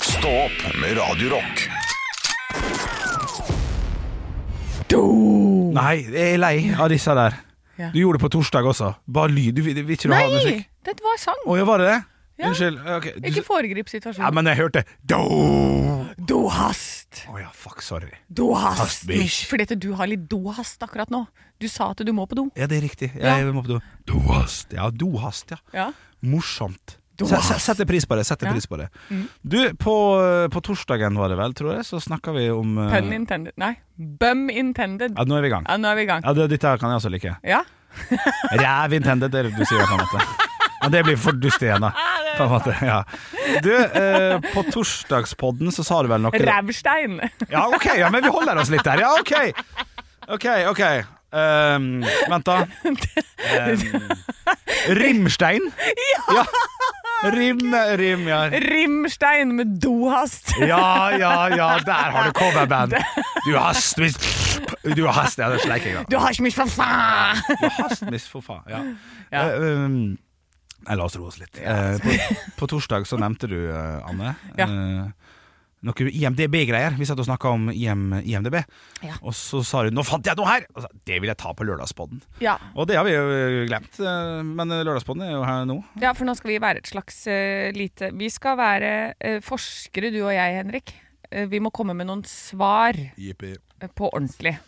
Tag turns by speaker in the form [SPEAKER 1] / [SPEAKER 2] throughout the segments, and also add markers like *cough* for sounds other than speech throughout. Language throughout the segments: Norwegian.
[SPEAKER 1] Stå opp med Radio Rock.
[SPEAKER 2] Nei, jeg er lei av disse der.
[SPEAKER 3] Ja.
[SPEAKER 2] Du gjorde det på torsdag også. Bare lyd. Du vil, vil ikke du ha
[SPEAKER 3] Nei,
[SPEAKER 2] musikk?
[SPEAKER 3] dette var sang.
[SPEAKER 2] Å ja, var det det?
[SPEAKER 3] Ja.
[SPEAKER 2] Unnskyld. Ok, du-
[SPEAKER 3] Ikke foregrip
[SPEAKER 2] ja,
[SPEAKER 3] situasjonen.
[SPEAKER 2] men jeg hørte Do! Å
[SPEAKER 3] Du hast!
[SPEAKER 2] ja, fuck, sorry.
[SPEAKER 3] Du hast!
[SPEAKER 2] Hast, bitch.
[SPEAKER 3] Fordi at du har litt dohast akkurat nå. Du sa at du må på do.
[SPEAKER 2] Ja, det er riktig.
[SPEAKER 3] Ja.
[SPEAKER 2] Jeg må på do. Dohast. Ja, dohast, ja.
[SPEAKER 3] Ja.
[SPEAKER 2] Morsomt.
[SPEAKER 3] Dohast.
[SPEAKER 2] Se- se- Setter pris på det. setter
[SPEAKER 3] Ja. Mm.
[SPEAKER 2] pris på det Du, på, på torsdagen var det vel, tror jeg, så snakka vi om eh,
[SPEAKER 3] Pun intended. Nei, bum intended.
[SPEAKER 2] Ja, nå er vi i gang.
[SPEAKER 3] Ja, nå er vi i gang.
[SPEAKER 2] Ja, det, Dette her kan jeg også like.
[SPEAKER 3] Ja.
[SPEAKER 2] Ræv intended, det er det du sier på en måte. Men det blir for dust igjen, da. På en måte, ja. Du, eh, på torsdagspodden så sa du vel noe
[SPEAKER 3] Rævstein. *laughs*
[SPEAKER 2] Ja, ok, ja, men vi holder oss litt der. Ja, ok. Ok, ok. Ehm, vent, da. Ehm, rimstein? Ja. Rim, rim, ja.
[SPEAKER 3] Rimstein med dohast.
[SPEAKER 2] Ja, ja, ja, der har du coverband. Du hast mis... Du hast Ja, det sleik jeg, da.
[SPEAKER 3] *laughs* Du har ikke mye for *laughs* faen!
[SPEAKER 2] Du hast mis, for faen. Ja.
[SPEAKER 3] Ja.
[SPEAKER 2] Eh, ehm, nei, la oss roe oss litt. Eh, på, på torsdag så nevnte du, eh, Anne,
[SPEAKER 3] Ja.
[SPEAKER 2] eh, noe IMDb-greier. Vi satt og snakka om IM, IMDb,
[SPEAKER 3] Ja.
[SPEAKER 2] og så sa du 'nå fant jeg noe her'! Og så, det vil jeg ta på lørdagspodden.
[SPEAKER 3] Ja.
[SPEAKER 2] Og det har vi jo eh, glemt, eh, men eh, lørdagspodden er jo her nå.
[SPEAKER 3] ja, for nå skal vi være et slags eh, lite Vi skal være eh, forskere, du og jeg, Henrik. Eh, vi må komme med noen svar eh,
[SPEAKER 2] Jippi.
[SPEAKER 3] på ordentlig.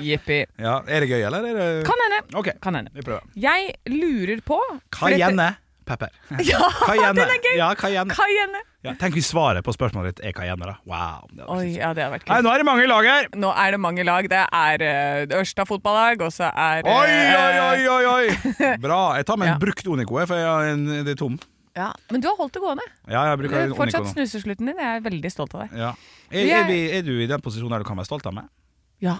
[SPEAKER 3] Jippi.
[SPEAKER 2] Ja, er det gøy, eller? Er det...
[SPEAKER 3] Kan hende.
[SPEAKER 2] Ok,
[SPEAKER 3] Kan hende.
[SPEAKER 2] vi prøver.
[SPEAKER 3] Jeg lurer på for dette-
[SPEAKER 2] Cayenne pepper.
[SPEAKER 3] *laughs* Ja,
[SPEAKER 2] Cayenne.
[SPEAKER 3] den er gøy!
[SPEAKER 2] Ja, cayenne.
[SPEAKER 3] Cayenne.
[SPEAKER 2] Ja, tenk hvis svaret på spørsmålet ditt er cayenne, da. Wow. det hadde vært
[SPEAKER 3] Oi,
[SPEAKER 2] sykt.
[SPEAKER 3] ja, det hadde vært
[SPEAKER 2] Nei,
[SPEAKER 3] kult.
[SPEAKER 2] nå er det mange i lag her!
[SPEAKER 3] Nå er det mange lag. Det er eh, Ørsta fotballag, og så er eh,
[SPEAKER 2] Oi, oi, oi, oi, oi *laughs* Bra, jeg tar meg en
[SPEAKER 3] Ja.
[SPEAKER 2] brukt Onico jeg, For jeg har en, det er tom
[SPEAKER 3] Ja, Men du har holdt det gående.
[SPEAKER 2] Ja, jeg
[SPEAKER 3] Du
[SPEAKER 2] bruker
[SPEAKER 3] har
[SPEAKER 2] en Onico
[SPEAKER 3] fortsatt
[SPEAKER 2] nå
[SPEAKER 3] snuserslutten din. Jeg er veldig stolt av deg.
[SPEAKER 2] ja. er,
[SPEAKER 3] Vi er-
[SPEAKER 2] er, vi, er du i den posisjonen der du kan være stolt av meg?
[SPEAKER 3] Ja,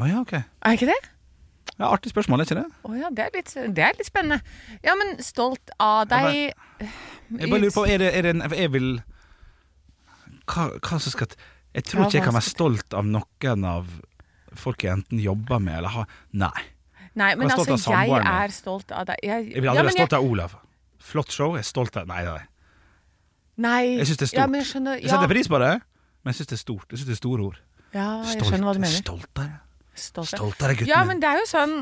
[SPEAKER 2] Åja, ok ja,
[SPEAKER 3] Er ikke det?
[SPEAKER 2] Artig spørsmål, er ikke det?
[SPEAKER 3] Å ja, det er, litt, det er litt spennende. Ja, men stolt av deg eh,
[SPEAKER 2] Jeg bare lurer på, er det, er det en for Jeg vil Hva, hva som skal til- Jeg tror
[SPEAKER 3] Ja,
[SPEAKER 2] ikke jeg
[SPEAKER 3] hva
[SPEAKER 2] kan være
[SPEAKER 3] skal
[SPEAKER 2] stolt av noen av Folk jeg enten jobber med eller har Nei
[SPEAKER 3] Nei, men
[SPEAKER 2] Jeg er stolt
[SPEAKER 3] altså,
[SPEAKER 2] av
[SPEAKER 3] jeg
[SPEAKER 2] samboeren min.
[SPEAKER 3] er stolt av deg. Jeg,
[SPEAKER 2] Jeg vil aldri være stolt av Olav Flott show, jeg er stolt av Nei, nei
[SPEAKER 3] Nei.
[SPEAKER 2] Jeg synes det er
[SPEAKER 3] Ja,
[SPEAKER 2] stort.
[SPEAKER 3] men jeg skjønner,
[SPEAKER 2] Jeg
[SPEAKER 3] ja,
[SPEAKER 2] setter pris på det Men jeg synes det er stort Jeg synes det er store ord
[SPEAKER 3] ja, Ah, jeg
[SPEAKER 2] Stolt,
[SPEAKER 3] skjønner hva du mener.
[SPEAKER 2] Stolt av det
[SPEAKER 3] Stolt, av-
[SPEAKER 2] Stolt av deg, gutten
[SPEAKER 3] Ja,
[SPEAKER 2] min.
[SPEAKER 3] men det er jo sånn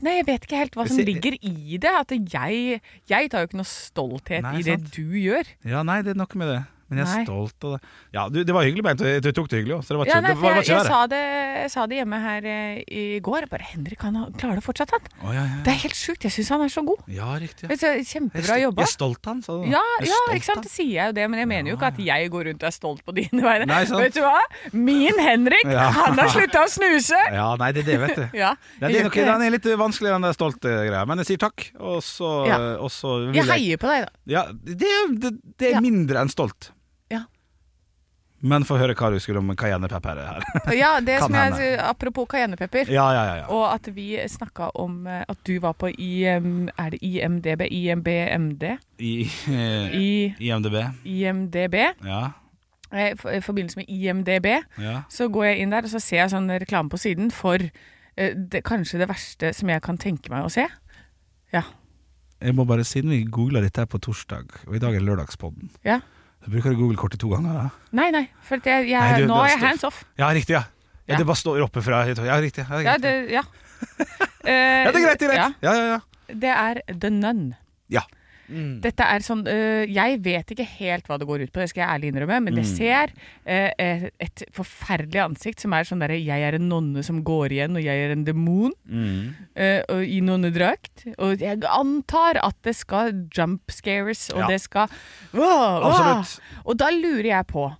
[SPEAKER 3] Nei, jeg vet ikke helt hva
[SPEAKER 2] Jeg
[SPEAKER 3] som
[SPEAKER 2] ser-
[SPEAKER 3] ligger i det. At jeg, jeg tar jo ikke noe stolthet
[SPEAKER 2] Nei,
[SPEAKER 3] i det
[SPEAKER 2] sant.
[SPEAKER 3] du gjør.
[SPEAKER 2] Ja, nei, det er noe med det. Men jeg er
[SPEAKER 3] Nei.
[SPEAKER 2] stolt av det. Ja, du, Det var hyggelig ment, og jeg jeg tok det hyggelig òg, så det var ikke,
[SPEAKER 3] Ja, nei,
[SPEAKER 2] det
[SPEAKER 3] for
[SPEAKER 2] var, var
[SPEAKER 3] jeg,
[SPEAKER 2] ikke
[SPEAKER 3] jeg,
[SPEAKER 2] verre.
[SPEAKER 3] sa det, jeg sa det hjemme her eh, i går. Jeg Bare Henrik, han har- klarer det fortsatt, han.
[SPEAKER 2] Å, ja, ja.
[SPEAKER 3] Det er helt sjukt. Jeg syns han er så god.
[SPEAKER 2] ja, riktig. Ja.
[SPEAKER 3] Jeg synes-
[SPEAKER 2] Jeg er
[SPEAKER 3] Kjempebra
[SPEAKER 2] stol-
[SPEAKER 3] jobba.
[SPEAKER 2] Jeg er stolt av han, sa du.
[SPEAKER 3] Ja,
[SPEAKER 2] Jeg er
[SPEAKER 3] ja,
[SPEAKER 2] stolt
[SPEAKER 3] ikke sant?
[SPEAKER 2] av
[SPEAKER 3] Det sier jeg jo det, men jeg mener jo ikke at jeg går rundt og er stolt på dine vegne.
[SPEAKER 2] Nei, sant.
[SPEAKER 3] Vet du hva? Min Henrik,
[SPEAKER 2] Ja.
[SPEAKER 3] han har slutta å snuse!
[SPEAKER 2] *laughs* han. Ja, nei, det er det, vet
[SPEAKER 3] *laughs*
[SPEAKER 2] du.
[SPEAKER 3] Ja,
[SPEAKER 2] Den er,
[SPEAKER 3] jeg gjør
[SPEAKER 2] nok,
[SPEAKER 3] ikke det.
[SPEAKER 2] den er litt vanskeligere enn den stolte greia, men jeg sier takk. Og så,
[SPEAKER 3] Ja.
[SPEAKER 2] og så vil
[SPEAKER 3] Jeg heier på deg, da.
[SPEAKER 2] Ja, det, det, det er
[SPEAKER 3] Ja.
[SPEAKER 2] mindre enn stolt.
[SPEAKER 3] Ja.
[SPEAKER 2] Men få høre hva du skulle om cayennepepper her. *laughs*
[SPEAKER 3] Ja, det
[SPEAKER 2] Kan
[SPEAKER 3] som jeg,
[SPEAKER 2] hende.
[SPEAKER 3] apropos cayennepepper.
[SPEAKER 2] ja, ja, ja, ja.
[SPEAKER 3] Og at vi snakka om eh, at du var på IM, er det IMDb? IMBMD?
[SPEAKER 2] I, eh,
[SPEAKER 3] I
[SPEAKER 2] IMDb.
[SPEAKER 3] IMDb.
[SPEAKER 2] Ja.
[SPEAKER 3] Eh, for- I forbindelse med IMDb
[SPEAKER 2] ja.
[SPEAKER 3] så går jeg inn der og så ser jeg sånn reklame på siden for eh, det, kanskje det verste som jeg kan tenke meg å se. Ja.
[SPEAKER 2] Jeg må bare, Siden vi googla dette her på torsdag, og i dag er lørdagspodden,
[SPEAKER 3] ja.
[SPEAKER 2] så bruker du Google-kortet to ganger. da
[SPEAKER 3] Nei, nei. For at jeg, jeg,
[SPEAKER 2] Nei, du-
[SPEAKER 3] nå
[SPEAKER 2] det
[SPEAKER 3] er
[SPEAKER 2] er
[SPEAKER 3] jeg
[SPEAKER 2] stoff.
[SPEAKER 3] hands off.
[SPEAKER 2] Ja, riktig, ja. ja,
[SPEAKER 3] Ja.
[SPEAKER 2] Det bare står oppe fra Ja, riktig. Ja, det er
[SPEAKER 3] Ja,
[SPEAKER 2] greit.
[SPEAKER 3] det,
[SPEAKER 2] *laughs*
[SPEAKER 3] ja. Eh,
[SPEAKER 2] ja, det er greit. Det er
[SPEAKER 3] ja.
[SPEAKER 2] greit. Ja, ja, ja.
[SPEAKER 3] Det er The Nun.
[SPEAKER 2] Ja. Mm,
[SPEAKER 3] Dette er sånn øh, Jeg vet ikke helt hva det går ut på, det skal jeg ærlig innrømme, men
[SPEAKER 2] Mm.
[SPEAKER 3] jeg ser øh, eh, et forferdelig ansikt som er sånn derre Jeg er en nonne som går igjen, og jeg er en demon
[SPEAKER 2] mm.
[SPEAKER 3] øh, og i nonnedrakt. Og jeg antar at det skal jump scares, og
[SPEAKER 2] Ja.
[SPEAKER 3] det skal Wow, wow.
[SPEAKER 2] Absolutt.
[SPEAKER 3] Og da lurer jeg på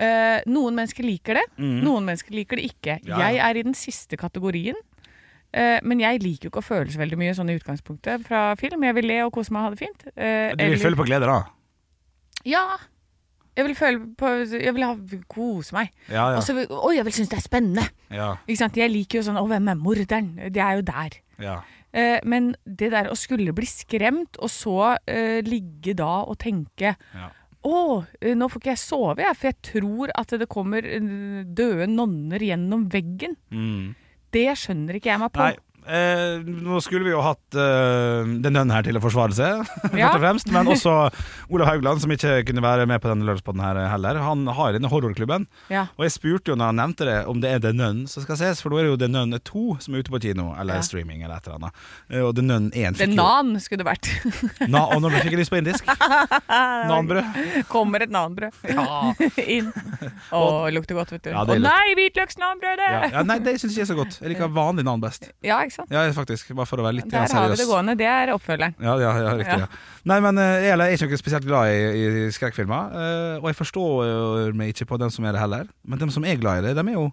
[SPEAKER 3] øh, Noen mennesker liker det, noen mennesker liker det ikke.
[SPEAKER 2] Mm. Ja,
[SPEAKER 3] Jeg
[SPEAKER 2] ja.
[SPEAKER 3] er i den siste kategorien. Eh, men jeg liker jo ikke å føle så veldig mye sånn i utgangspunktet fra film. Jeg vil le og kose meg og ha det fint. Eh,
[SPEAKER 2] Du vil føle på glede, da?
[SPEAKER 3] Ja. Jeg vil føle på Jeg vil ha, kose meg.
[SPEAKER 2] Ja, ja.
[SPEAKER 3] Og så vil Oi, jeg vil synes det er spennende.
[SPEAKER 2] ja,
[SPEAKER 3] Ikke sant? Jeg liker jo sånn Å, hvem er morderen? Det er jo der.
[SPEAKER 2] ja.
[SPEAKER 3] Eh, men det der å skulle bli skremt, og så eh, ligge da og tenke
[SPEAKER 2] Ja.
[SPEAKER 3] å, eh, nå får ikke jeg sove, jeg, for jeg tror at det kommer eh, døde nonner gjennom veggen.
[SPEAKER 2] Mm.
[SPEAKER 3] Det skjønner ikke jeg meg på.
[SPEAKER 2] Nei, eh, nå skulle vi jo hatt eh, den dønnen her til å forsvare seg, *laughs* først
[SPEAKER 3] Ja.
[SPEAKER 2] og fremst. Men også Olav Haugland, som ikke kunne være med på denne lørdagspodden her heller. Han har denne horrorklubben.
[SPEAKER 3] Ja.
[SPEAKER 2] Og jeg spurte jo når han nevnte det, om det er The Nun som skal ses, for nå er det jo The Nun 2 som er ute på kino, eller
[SPEAKER 3] Ja.
[SPEAKER 2] streaming, eller et eller annet. Eh, Og The Nun 1
[SPEAKER 3] Det
[SPEAKER 2] fikk jo
[SPEAKER 3] nan skulle det
[SPEAKER 2] *laughs*
[SPEAKER 3] vært.
[SPEAKER 2] Na, Og nå fikk jeg lyst på
[SPEAKER 3] *laughs*
[SPEAKER 2] indisk. Nanbrød.
[SPEAKER 3] Kommer et nanbrød
[SPEAKER 2] Ja.
[SPEAKER 3] *laughs* inn. Å, lukter godt, vet du.
[SPEAKER 2] Ja,
[SPEAKER 3] Å
[SPEAKER 2] det er litt-
[SPEAKER 3] nei, hvitløksnanbrødet!
[SPEAKER 2] Ja. ja, nei, det syns jeg er så godt. Jeg liker vanlig nan best.
[SPEAKER 3] Ja, ikke sant?
[SPEAKER 2] Ja, faktisk. Bare for å være litt
[SPEAKER 3] Der har vi det
[SPEAKER 2] seriøs.
[SPEAKER 3] gående. Det er oppfølgeren.
[SPEAKER 2] Ja, ja, ja, riktig. Ja.
[SPEAKER 3] Ja.
[SPEAKER 2] Nei, men eh, jeg er ikke noe spesielt glad i, i skrekkfilmer. eh, Og jeg forstår eh, meg ikke på dem som er det heller. Men dem som er glad i det, dem er jo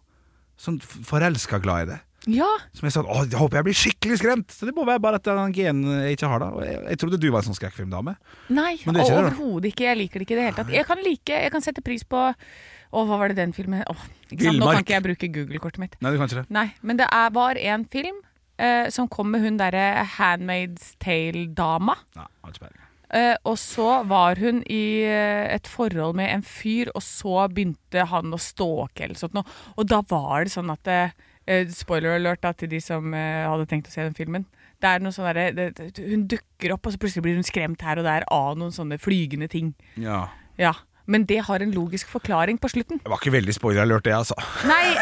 [SPEAKER 2] sånn forelska glad i det.
[SPEAKER 3] Ja,
[SPEAKER 2] Som er sånn Å, jeg håper jeg blir skikkelig skremt! Så det må være bare at den genen jeg ikke har, da. Og jeg, jeg trodde du var en sånn skrekkfilmdame.
[SPEAKER 3] Nei,
[SPEAKER 2] Men det er ikke det, da.
[SPEAKER 3] overhodet ikke. Jeg liker det ikke i det hele tatt. Jeg kan like, jeg kan sette pris på Å, hva var det den filmen Åh, ikke sant? Nå
[SPEAKER 2] Villmark.
[SPEAKER 3] kan ikke jeg bruke Google-kortet mitt.
[SPEAKER 2] Nei, du kan ikke det.
[SPEAKER 3] Nei, men det er, var en film eh, som kom med hun derre Handmaid's Tale-dama.
[SPEAKER 2] Nei, jeg har ikke peiling.
[SPEAKER 3] Eh, og så var hun i eh, et forhold med en fyr, og så begynte han å stalke eller sånt noe. Og da var det sånn at eh, eh, Spoiler alert da, til de som eh, hadde tenkt å se den filmen. Det er noe sånn derre- det, det, Hun dukker opp, og så plutselig blir hun skremt her og der av noen sånne flygende ting.
[SPEAKER 2] Ja.
[SPEAKER 3] Ja. Men det har en logisk forklaring på slutten.
[SPEAKER 2] Det var ikke veldig spoiler-alert, det, altså.
[SPEAKER 3] Nei!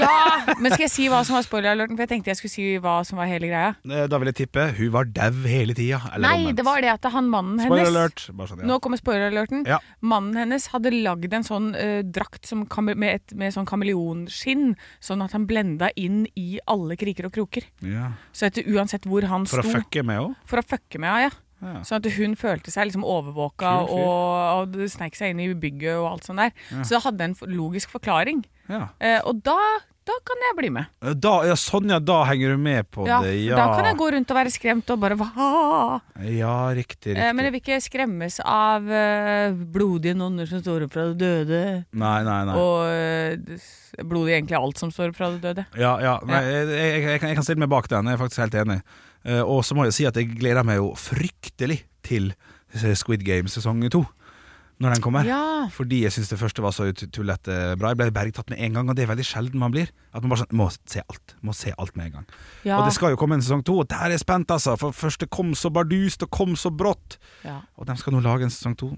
[SPEAKER 3] Ja! Men skal jeg si hva som var spoiler-alerten? For jeg tenkte jeg skulle si hva som var hele greia.
[SPEAKER 2] Eh, Da vil jeg tippe hun var dau hele tida. eller
[SPEAKER 3] Nei,
[SPEAKER 2] omvendt.
[SPEAKER 3] det var det at han mannen hennes
[SPEAKER 2] Spoiler-alert. Bare sånn, ja.
[SPEAKER 3] Nå kommer spoiler-alerten.
[SPEAKER 2] Ja.
[SPEAKER 3] Mannen hennes hadde lagd en sånn eh, drakt som kame- med, et, med sånn kameleonskinn, sånn at han blenda inn i alle kriker og kroker.
[SPEAKER 2] Ja.
[SPEAKER 3] Så at uansett hvor han
[SPEAKER 2] For å
[SPEAKER 3] sto
[SPEAKER 2] fucke med henne?
[SPEAKER 3] For å fucke med henne, ja.
[SPEAKER 2] Ja.
[SPEAKER 3] Sånn at hun følte seg liksom overvåka
[SPEAKER 2] Kul fyr.
[SPEAKER 3] og, og sneik seg inn i bygget og alt sånt der. Så det hadde en f- logisk forklaring.
[SPEAKER 2] Ja.
[SPEAKER 3] Eh, og da, da kan jeg bli med.
[SPEAKER 2] Da, ja, sånn, ja. Da henger du med på
[SPEAKER 3] Ja,
[SPEAKER 2] det,
[SPEAKER 3] for
[SPEAKER 2] ja.
[SPEAKER 3] Da kan jeg gå rundt og være skremt og bare hva?
[SPEAKER 2] Ja, riktig, riktig.
[SPEAKER 3] Eh, men jeg vil ikke skremmes av eh, blodige nonner som står opp fra det døde.
[SPEAKER 2] Nei, nei, nei.
[SPEAKER 3] Og eh, s- blodig egentlig alt som står opp fra det døde.
[SPEAKER 2] Ja, ja. Nei, jeg, jeg, jeg, kan- jeg kan stille meg bak den. Jeg er faktisk helt enig. Eh, og så må jeg si at jeg gleder meg jo fryktelig til eh, Squid Game sesong to. Når den kommer.
[SPEAKER 3] Ja.
[SPEAKER 2] Fordi jeg syns det første var så ut- tullete bra. Jeg ble bergtatt med en gang, og det er veldig sjelden man blir. At man bare sånn, må se alt. Må se alt med en gang.
[SPEAKER 3] Ja.
[SPEAKER 2] Og det skal jo komme en sesong to, og der er jeg spent, altså. For første kom så bardust, og kom så brått.
[SPEAKER 3] ja.
[SPEAKER 2] Og de skal nå lage en sesong to.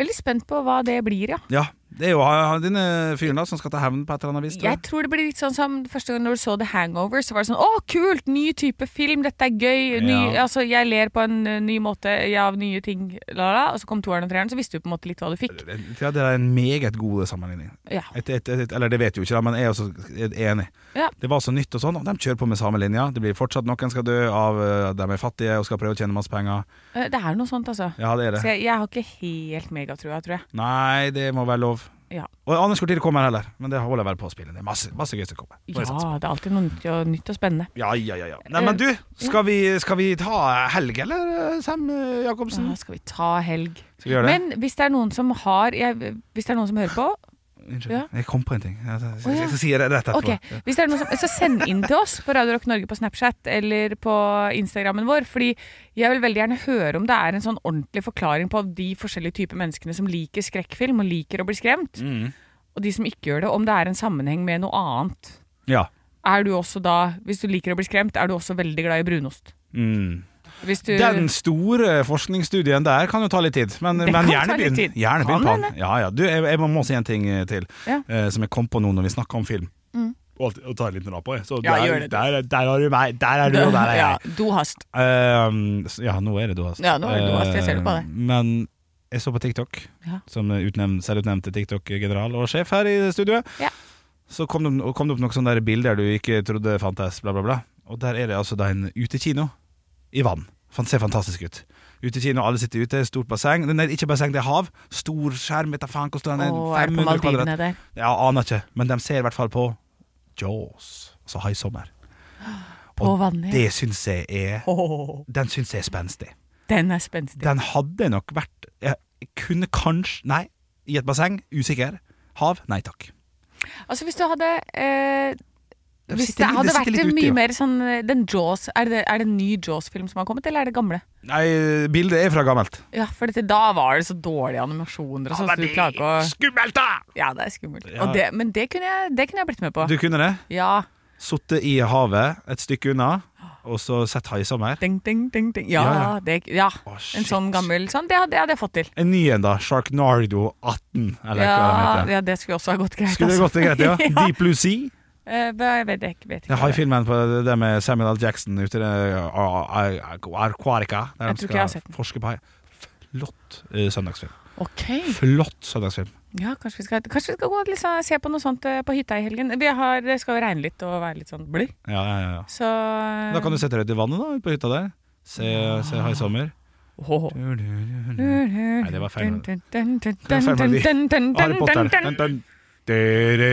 [SPEAKER 3] Veldig spent på hva det blir, ja.
[SPEAKER 2] Ja, det er jo han- han- denne fyren da som skal ta hevn på et eller annet vis. tror
[SPEAKER 3] Jeg tror det blir litt sånn som første gang når du så The Hangover, så var det sånn Å, kult! Ny type film! Dette er gøy! Ny,
[SPEAKER 2] Ja.
[SPEAKER 3] Altså, jeg ler på en eh, ny måte ja, av nye ting, la, la. Og så kom toeren og treeren, så visste du på en måte litt hva du fikk.
[SPEAKER 2] jeg. Ja, det er en meget god sammenligning.
[SPEAKER 3] Ja.
[SPEAKER 2] Et, et, et, et, eller det vet jeg jo ikke, da, men jeg er også enig.
[SPEAKER 3] Ja.
[SPEAKER 2] Det var så nytt og sånn, og de kjører på med samme linja. Det blir fortsatt noen skal dø av eh, de er fattige og skal prøve å tjene masse penger.
[SPEAKER 3] Eh, Det er noe sånt, altså.
[SPEAKER 2] Ja, det er
[SPEAKER 3] Så
[SPEAKER 2] det.
[SPEAKER 3] jeg, jeg har ikke helt megatrua, tror jeg.
[SPEAKER 2] Nei, det må være lov.
[SPEAKER 3] Ja.
[SPEAKER 2] Og Anders når det kommer heller, men det holder jeg vel på å spille. Det er masse, masse gøy som kommer. Må
[SPEAKER 3] Ja, Eh,
[SPEAKER 2] jeg satse på.
[SPEAKER 3] det er alltid noe nytt og, nytt og spennende.
[SPEAKER 2] Ja, ja, ja, ja. Nei, men du, skal vi, skal vi ta helg, eller, Sam eh, Jacobsen?
[SPEAKER 3] Da skal vi ta helg.
[SPEAKER 2] Skal vi gjøre det?
[SPEAKER 3] Men hvis det er noen som har jeg, Hvis det er noen som hører på,
[SPEAKER 2] Unnskyld,
[SPEAKER 3] Ja.
[SPEAKER 2] jeg kom på en ting. Jeg, jeg, jeg,
[SPEAKER 3] Å,
[SPEAKER 2] jeg,
[SPEAKER 3] ja.
[SPEAKER 2] skal si det rett etterpå.
[SPEAKER 3] Ok,
[SPEAKER 2] *laughs*
[SPEAKER 3] hvis det er noen som Så send inn til oss på Radio Rock Norge på Snapchat eller på Instagrammen vår. Fordi jeg vil veldig gjerne høre om det er en sånn ordentlig forklaring på de forskjellige typer menneskene som liker skrekkfilm og liker å bli skremt,
[SPEAKER 2] Mm.
[SPEAKER 3] og de som ikke gjør det, om det er en sammenheng med noe annet.
[SPEAKER 2] Ja.
[SPEAKER 3] Er du også da, hvis du liker å bli skremt, er du også veldig glad i brunost?
[SPEAKER 2] Mm.
[SPEAKER 3] Hvis du
[SPEAKER 2] Den store forskningsstudien der kan jo ta litt tid, men, men
[SPEAKER 3] kan
[SPEAKER 2] gjerne
[SPEAKER 3] ta litt
[SPEAKER 2] begynn.
[SPEAKER 3] tid.
[SPEAKER 2] Gjerne begynn på
[SPEAKER 3] Kan
[SPEAKER 2] den. Ja, ja. Du, jeg, jeg må si en ting eh, til,
[SPEAKER 3] Ja. Mm.
[SPEAKER 2] eh, som jeg kom på nå når vi snakka om film. Og, alt- og ta en liten rap på, jeg. Så
[SPEAKER 3] Ja,
[SPEAKER 2] der,
[SPEAKER 3] gjør det, du.
[SPEAKER 2] der, der har du meg, der er du, og der er
[SPEAKER 3] Ja,
[SPEAKER 2] jeg.
[SPEAKER 3] dohast.
[SPEAKER 2] Ehm, så- ja, nå er det duhast.
[SPEAKER 3] Ja, nå er det duhast. Jeg ser det på deg.
[SPEAKER 2] Ehm, Men jeg så på TikTok,
[SPEAKER 3] Ja.
[SPEAKER 2] som utnevnt, selvutnevnte TikTok-general og sjef her i studioet.
[SPEAKER 3] Ja.
[SPEAKER 2] Så kom det, kom det opp noen sånne der bilder du ikke trodde fantes, bla, bla, bla. Og der er det altså da en utekino i vann. Fan, ser fantastisk ut. Utekino, alle sitter ute, stort basseng. Nei, ikke basseng, det er hav. Stor skjerm, vet da faen hvordan den er.
[SPEAKER 3] Og er det på
[SPEAKER 2] 500 kvadrat.
[SPEAKER 3] Maldivene der?
[SPEAKER 2] Ja, aner ikke. Men de ser i hvert fall på Jaws, altså High Summer.
[SPEAKER 3] På
[SPEAKER 2] Og
[SPEAKER 3] vannet?
[SPEAKER 2] Det syns jeg er
[SPEAKER 3] Åh,
[SPEAKER 2] Den syns jeg er spenstig.
[SPEAKER 3] den er spenstig.
[SPEAKER 2] Den hadde nok vært Jeg kunne kanskje Nei, i et basseng, usikker. Hav, nei takk.
[SPEAKER 3] Altså hvis du hadde eh,
[SPEAKER 2] Det
[SPEAKER 3] Hvis
[SPEAKER 2] sitter
[SPEAKER 3] det
[SPEAKER 2] litt-
[SPEAKER 3] hadde
[SPEAKER 2] det
[SPEAKER 3] vært
[SPEAKER 2] sitter litt
[SPEAKER 3] en
[SPEAKER 2] ute,
[SPEAKER 3] mye
[SPEAKER 2] ja.
[SPEAKER 3] mer sånn eh, den Jaws, er, det, er det en ny Jaws-film som har kommet, eller er det gamle?
[SPEAKER 2] Nei, bildet er fra gammelt.
[SPEAKER 3] Ja, for dette, da var det så dårlige animasjoner og sånn, så du klarer ikke å
[SPEAKER 2] skummelt, da!
[SPEAKER 3] Ja, det er skummelt.
[SPEAKER 2] Ja.
[SPEAKER 3] Og det, men det kunne, jeg, det kunne jeg blitt med på.
[SPEAKER 2] Du kunne det.
[SPEAKER 3] Ja.
[SPEAKER 2] Sittet i havet et stykke unna, og så sett hai sammen her.
[SPEAKER 3] Ding, ding, ding, ding. Ja,
[SPEAKER 2] Ja, ja.
[SPEAKER 3] Det, ja.
[SPEAKER 2] Å,
[SPEAKER 3] en
[SPEAKER 2] shit.
[SPEAKER 3] sånn gammel sånn. Det, hadde- det hadde jeg fått til.
[SPEAKER 2] En ny en, da. Sharknardo 18, eller hva den
[SPEAKER 3] Ja,
[SPEAKER 2] heter.
[SPEAKER 3] ja, det skulle også ha gått greit.
[SPEAKER 2] Skulle det
[SPEAKER 3] altså.
[SPEAKER 2] gått greit,
[SPEAKER 3] *laughs*
[SPEAKER 2] ja? Deep Blue Sea.
[SPEAKER 3] Eh, hva- jeg vet ikke. Vet ikke
[SPEAKER 2] Jeg har
[SPEAKER 3] hva det er.
[SPEAKER 2] filmen på det- det med Samuel L. Jackson ute i det Ar- Ar- Ar- Arquarica. Der
[SPEAKER 3] Jeg
[SPEAKER 2] de
[SPEAKER 3] tror ikke jeg har
[SPEAKER 2] skal
[SPEAKER 3] sett den.
[SPEAKER 2] forske på hai. Flott eh, søndagsfilm.
[SPEAKER 3] Ok.
[SPEAKER 2] Flott søndagsfilm.
[SPEAKER 3] Ja, kanskje vi skal, kanskje vi skal gå og liksom, se på noe sånt eh, på hytta i helgen. Vi har, det skal jo regne litt og være litt sånn blid.
[SPEAKER 2] Ja, ja, ja.
[SPEAKER 3] Så
[SPEAKER 2] Da kan du sette deg ut i vannet da, ute på hytta der. Se, se High Summer.
[SPEAKER 3] Åh.
[SPEAKER 2] Nei, det var feil. var feil melodi. Harry
[SPEAKER 3] Harry
[SPEAKER 2] Potter. Dun, dun. Dere,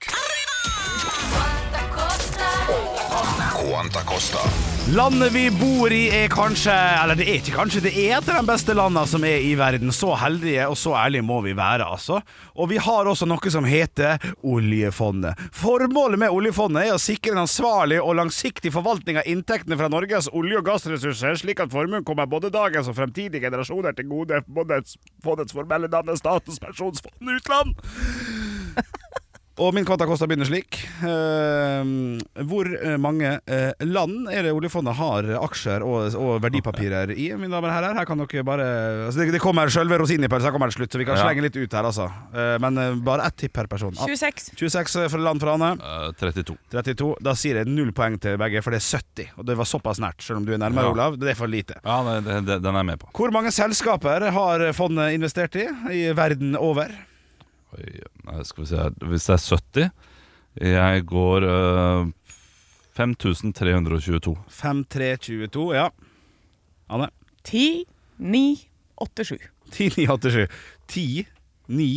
[SPEAKER 1] Quanta Costa.
[SPEAKER 2] Landet vi bor i er kanskje Eller det er ikke kanskje, det er et av de beste landene som er i verden. Så heldige og så ærlige må vi være, altså. Og vi har også noe som heter oljefondet. Formålet med oljefondet er å sikre en ansvarlig og langsiktig forvaltning av inntektene fra Norges olje- og gassressurser, slik at formuen kommer både dagens og fremtidige generasjoner til gode. Fondets, fondets formelle navn er Statens pensjonsfond utland. Og min kvanta kosta begynner slik. Ehm, hvor eh, mange eh, land er det oljefondet har aksjer og, og verdipapirer i? Mine damer og herrer, her kan dere bare altså det, det kommer sjølve rosinipølsa kommer til slutt, så vi kan
[SPEAKER 4] Ja.
[SPEAKER 2] slenge litt ut her, altså. Eh, men eh, bare ett tipp per person. Ah,
[SPEAKER 3] 26.
[SPEAKER 2] 26 for land fra Anne.
[SPEAKER 4] Eh, 32.
[SPEAKER 2] 32. Da sier jeg null poeng til begge, for det er 70. Og det var såpass nært, selv om du er nærmere,
[SPEAKER 4] Ja.
[SPEAKER 2] Olav. Det er for lite.
[SPEAKER 4] Ja, det, det, det, den er jeg med på.
[SPEAKER 2] Hvor mange selskaper har fondet investert i i verden over?
[SPEAKER 4] Oi, nei, skal vi se her. Hvis det er 70 Jeg går eh, 5322.
[SPEAKER 2] 5322, ja. Anne?
[SPEAKER 3] 10, 9, 8, 7.
[SPEAKER 2] 10987. 10, 9,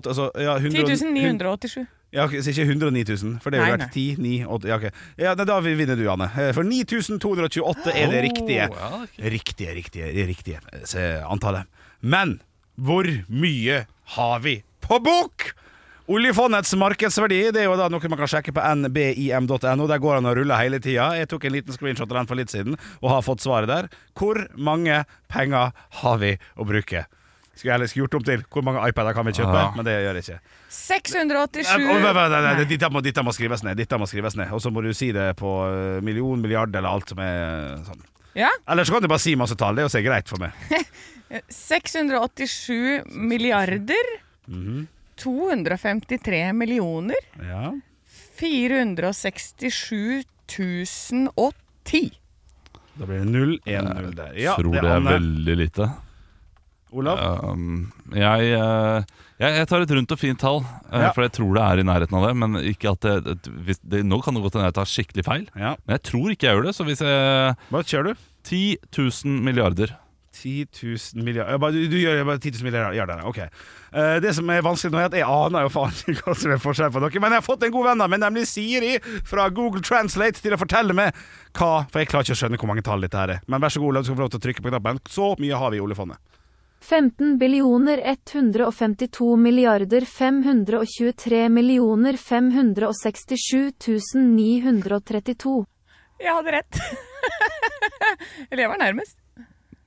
[SPEAKER 2] 8 altså, ja, 100,
[SPEAKER 3] 10 987.
[SPEAKER 2] Ja, ok, så ikke 109 000, for det
[SPEAKER 3] Nei,
[SPEAKER 2] ville
[SPEAKER 3] nei.
[SPEAKER 2] vært 10, 9, 8 Ja, ok. ja nei, da vinner du, Anne. Eh, For 9228 er det riktige.
[SPEAKER 4] Å, ja, ok.
[SPEAKER 2] Riktige, riktige, riktige eh, se, antallet. Men hvor mye har vi på bok? Oljefondets markedsverdi Det er jo da noe man kan sjekke på nbim.no. Der går han og ruller hele tida. Jeg tok en liten screenshot av den for litt siden og har fått svaret der. Hvor mange penger har vi å bruke? Skulle jeg ellers gjort om til hvor mange iPader kan vi kjøpe,
[SPEAKER 4] Ja.
[SPEAKER 2] men det gjør jeg ikke.
[SPEAKER 3] 687.
[SPEAKER 2] Nei, oi, Nei, nei, nei,
[SPEAKER 3] Nei.
[SPEAKER 2] Dette må, dette må skrives ned. Dette må skrives ned Og så må du si det på eh, million, milliard eller alt som er eh, sånn.
[SPEAKER 3] Ja.
[SPEAKER 2] Eller så kan du bare si masse tall. Det er jo så greit for meg.
[SPEAKER 3] 687 milliarder.
[SPEAKER 2] Mhm.
[SPEAKER 3] 253 millioner.
[SPEAKER 2] Ja.
[SPEAKER 3] 467 010.
[SPEAKER 2] Da blir det 0-1-0 der. Ja,
[SPEAKER 4] Tror det er,
[SPEAKER 2] Anne.
[SPEAKER 4] veldig lite.
[SPEAKER 2] Olav?
[SPEAKER 4] Um, jeg, eh, jeg, jeg tar et rundt og fint tall, eh,
[SPEAKER 2] Ja.
[SPEAKER 4] for jeg tror det er i nærheten av det. Men ikke at det, at hvis det, nå kan det godt hende jeg tar skikkelig feil.
[SPEAKER 2] Ja.
[SPEAKER 4] Men jeg tror ikke jeg gjør det. Så hvis jeg
[SPEAKER 2] Hva kjører du?
[SPEAKER 4] 10 000 milliarder.
[SPEAKER 2] 10 000 milliarder ja, bare- Du, du gjør bare 10 000 milliarder, ok. Eh, det som er vanskelig nå, er at jeg aner jo faen ikke hva som er forskjellen på dere. Men jeg har fått en god venn av meg, nemlig Siri fra Google Translate, til å fortelle meg hva For jeg klarer ikke å skjønne hvor mange tall dette her er. Men vær så god, Olav, du skal få lov til å trykke på knappen. Så mye har vi i oljefondet.
[SPEAKER 5] 15 billioner 152 milliarder 523 millioner 567 932.
[SPEAKER 3] Jeg hadde rett. *laughs* Eller jeg var nærmest.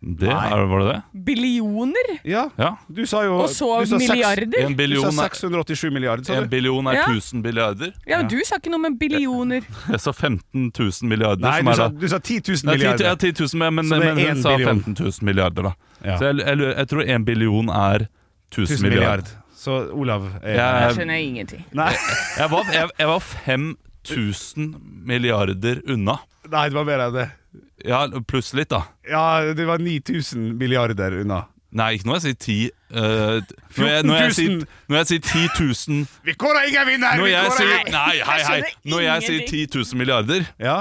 [SPEAKER 4] Det,
[SPEAKER 2] Nei.
[SPEAKER 4] er, var det det?
[SPEAKER 3] Billioner,
[SPEAKER 2] Ja,
[SPEAKER 4] Ja.
[SPEAKER 2] du sa jo
[SPEAKER 3] og så
[SPEAKER 2] du sa seks-
[SPEAKER 3] milliarder.
[SPEAKER 4] En
[SPEAKER 2] Du sa
[SPEAKER 4] billion er,
[SPEAKER 2] 687 milliarder, sa
[SPEAKER 4] en
[SPEAKER 2] du?
[SPEAKER 4] billion er
[SPEAKER 3] Ja.
[SPEAKER 4] 1000 milliarder.
[SPEAKER 3] Ja, men du sa ikke noe om en billioner.
[SPEAKER 4] Jeg sa 15 000 milliarder.
[SPEAKER 2] Nei,
[SPEAKER 4] som
[SPEAKER 2] du
[SPEAKER 4] er
[SPEAKER 2] sa,
[SPEAKER 4] da-
[SPEAKER 2] du sa 10 000
[SPEAKER 4] Nei, 10, ja,
[SPEAKER 2] milliarder.
[SPEAKER 4] 10 000, men, men,
[SPEAKER 2] Så det er
[SPEAKER 4] men hun
[SPEAKER 2] en
[SPEAKER 4] sa
[SPEAKER 2] billion.
[SPEAKER 4] 15 000 milliarder, da.
[SPEAKER 2] Ja.
[SPEAKER 4] Så jeg, jeg, lurer- jeg tror 1 billion er 1000
[SPEAKER 2] 1000 milliard.
[SPEAKER 4] milliarder.
[SPEAKER 2] Så Olav er
[SPEAKER 4] Jeg,
[SPEAKER 3] Jeg skjønner ingenting.
[SPEAKER 2] Nei, *laughs*
[SPEAKER 4] jeg, var, jeg, jeg var 5000 milliarder unna.
[SPEAKER 2] nei, det var mer enn det.
[SPEAKER 4] Ja, pluss litt, da.
[SPEAKER 2] Ja, det var 9000 milliarder unna.
[SPEAKER 4] Nei, ikke når jeg sier 10 eh, når, jeg, når, jeg
[SPEAKER 2] 14 000.
[SPEAKER 4] sier, når jeg sier 10 000
[SPEAKER 2] Vi kårer ingen vinner!
[SPEAKER 4] Når
[SPEAKER 2] vi
[SPEAKER 4] jeg
[SPEAKER 2] kårer
[SPEAKER 4] sier
[SPEAKER 2] ingen-
[SPEAKER 4] Nei, hei, hei.
[SPEAKER 3] Jeg skjønner
[SPEAKER 4] Når jeg sier 10 000 milliarder,
[SPEAKER 2] Ja,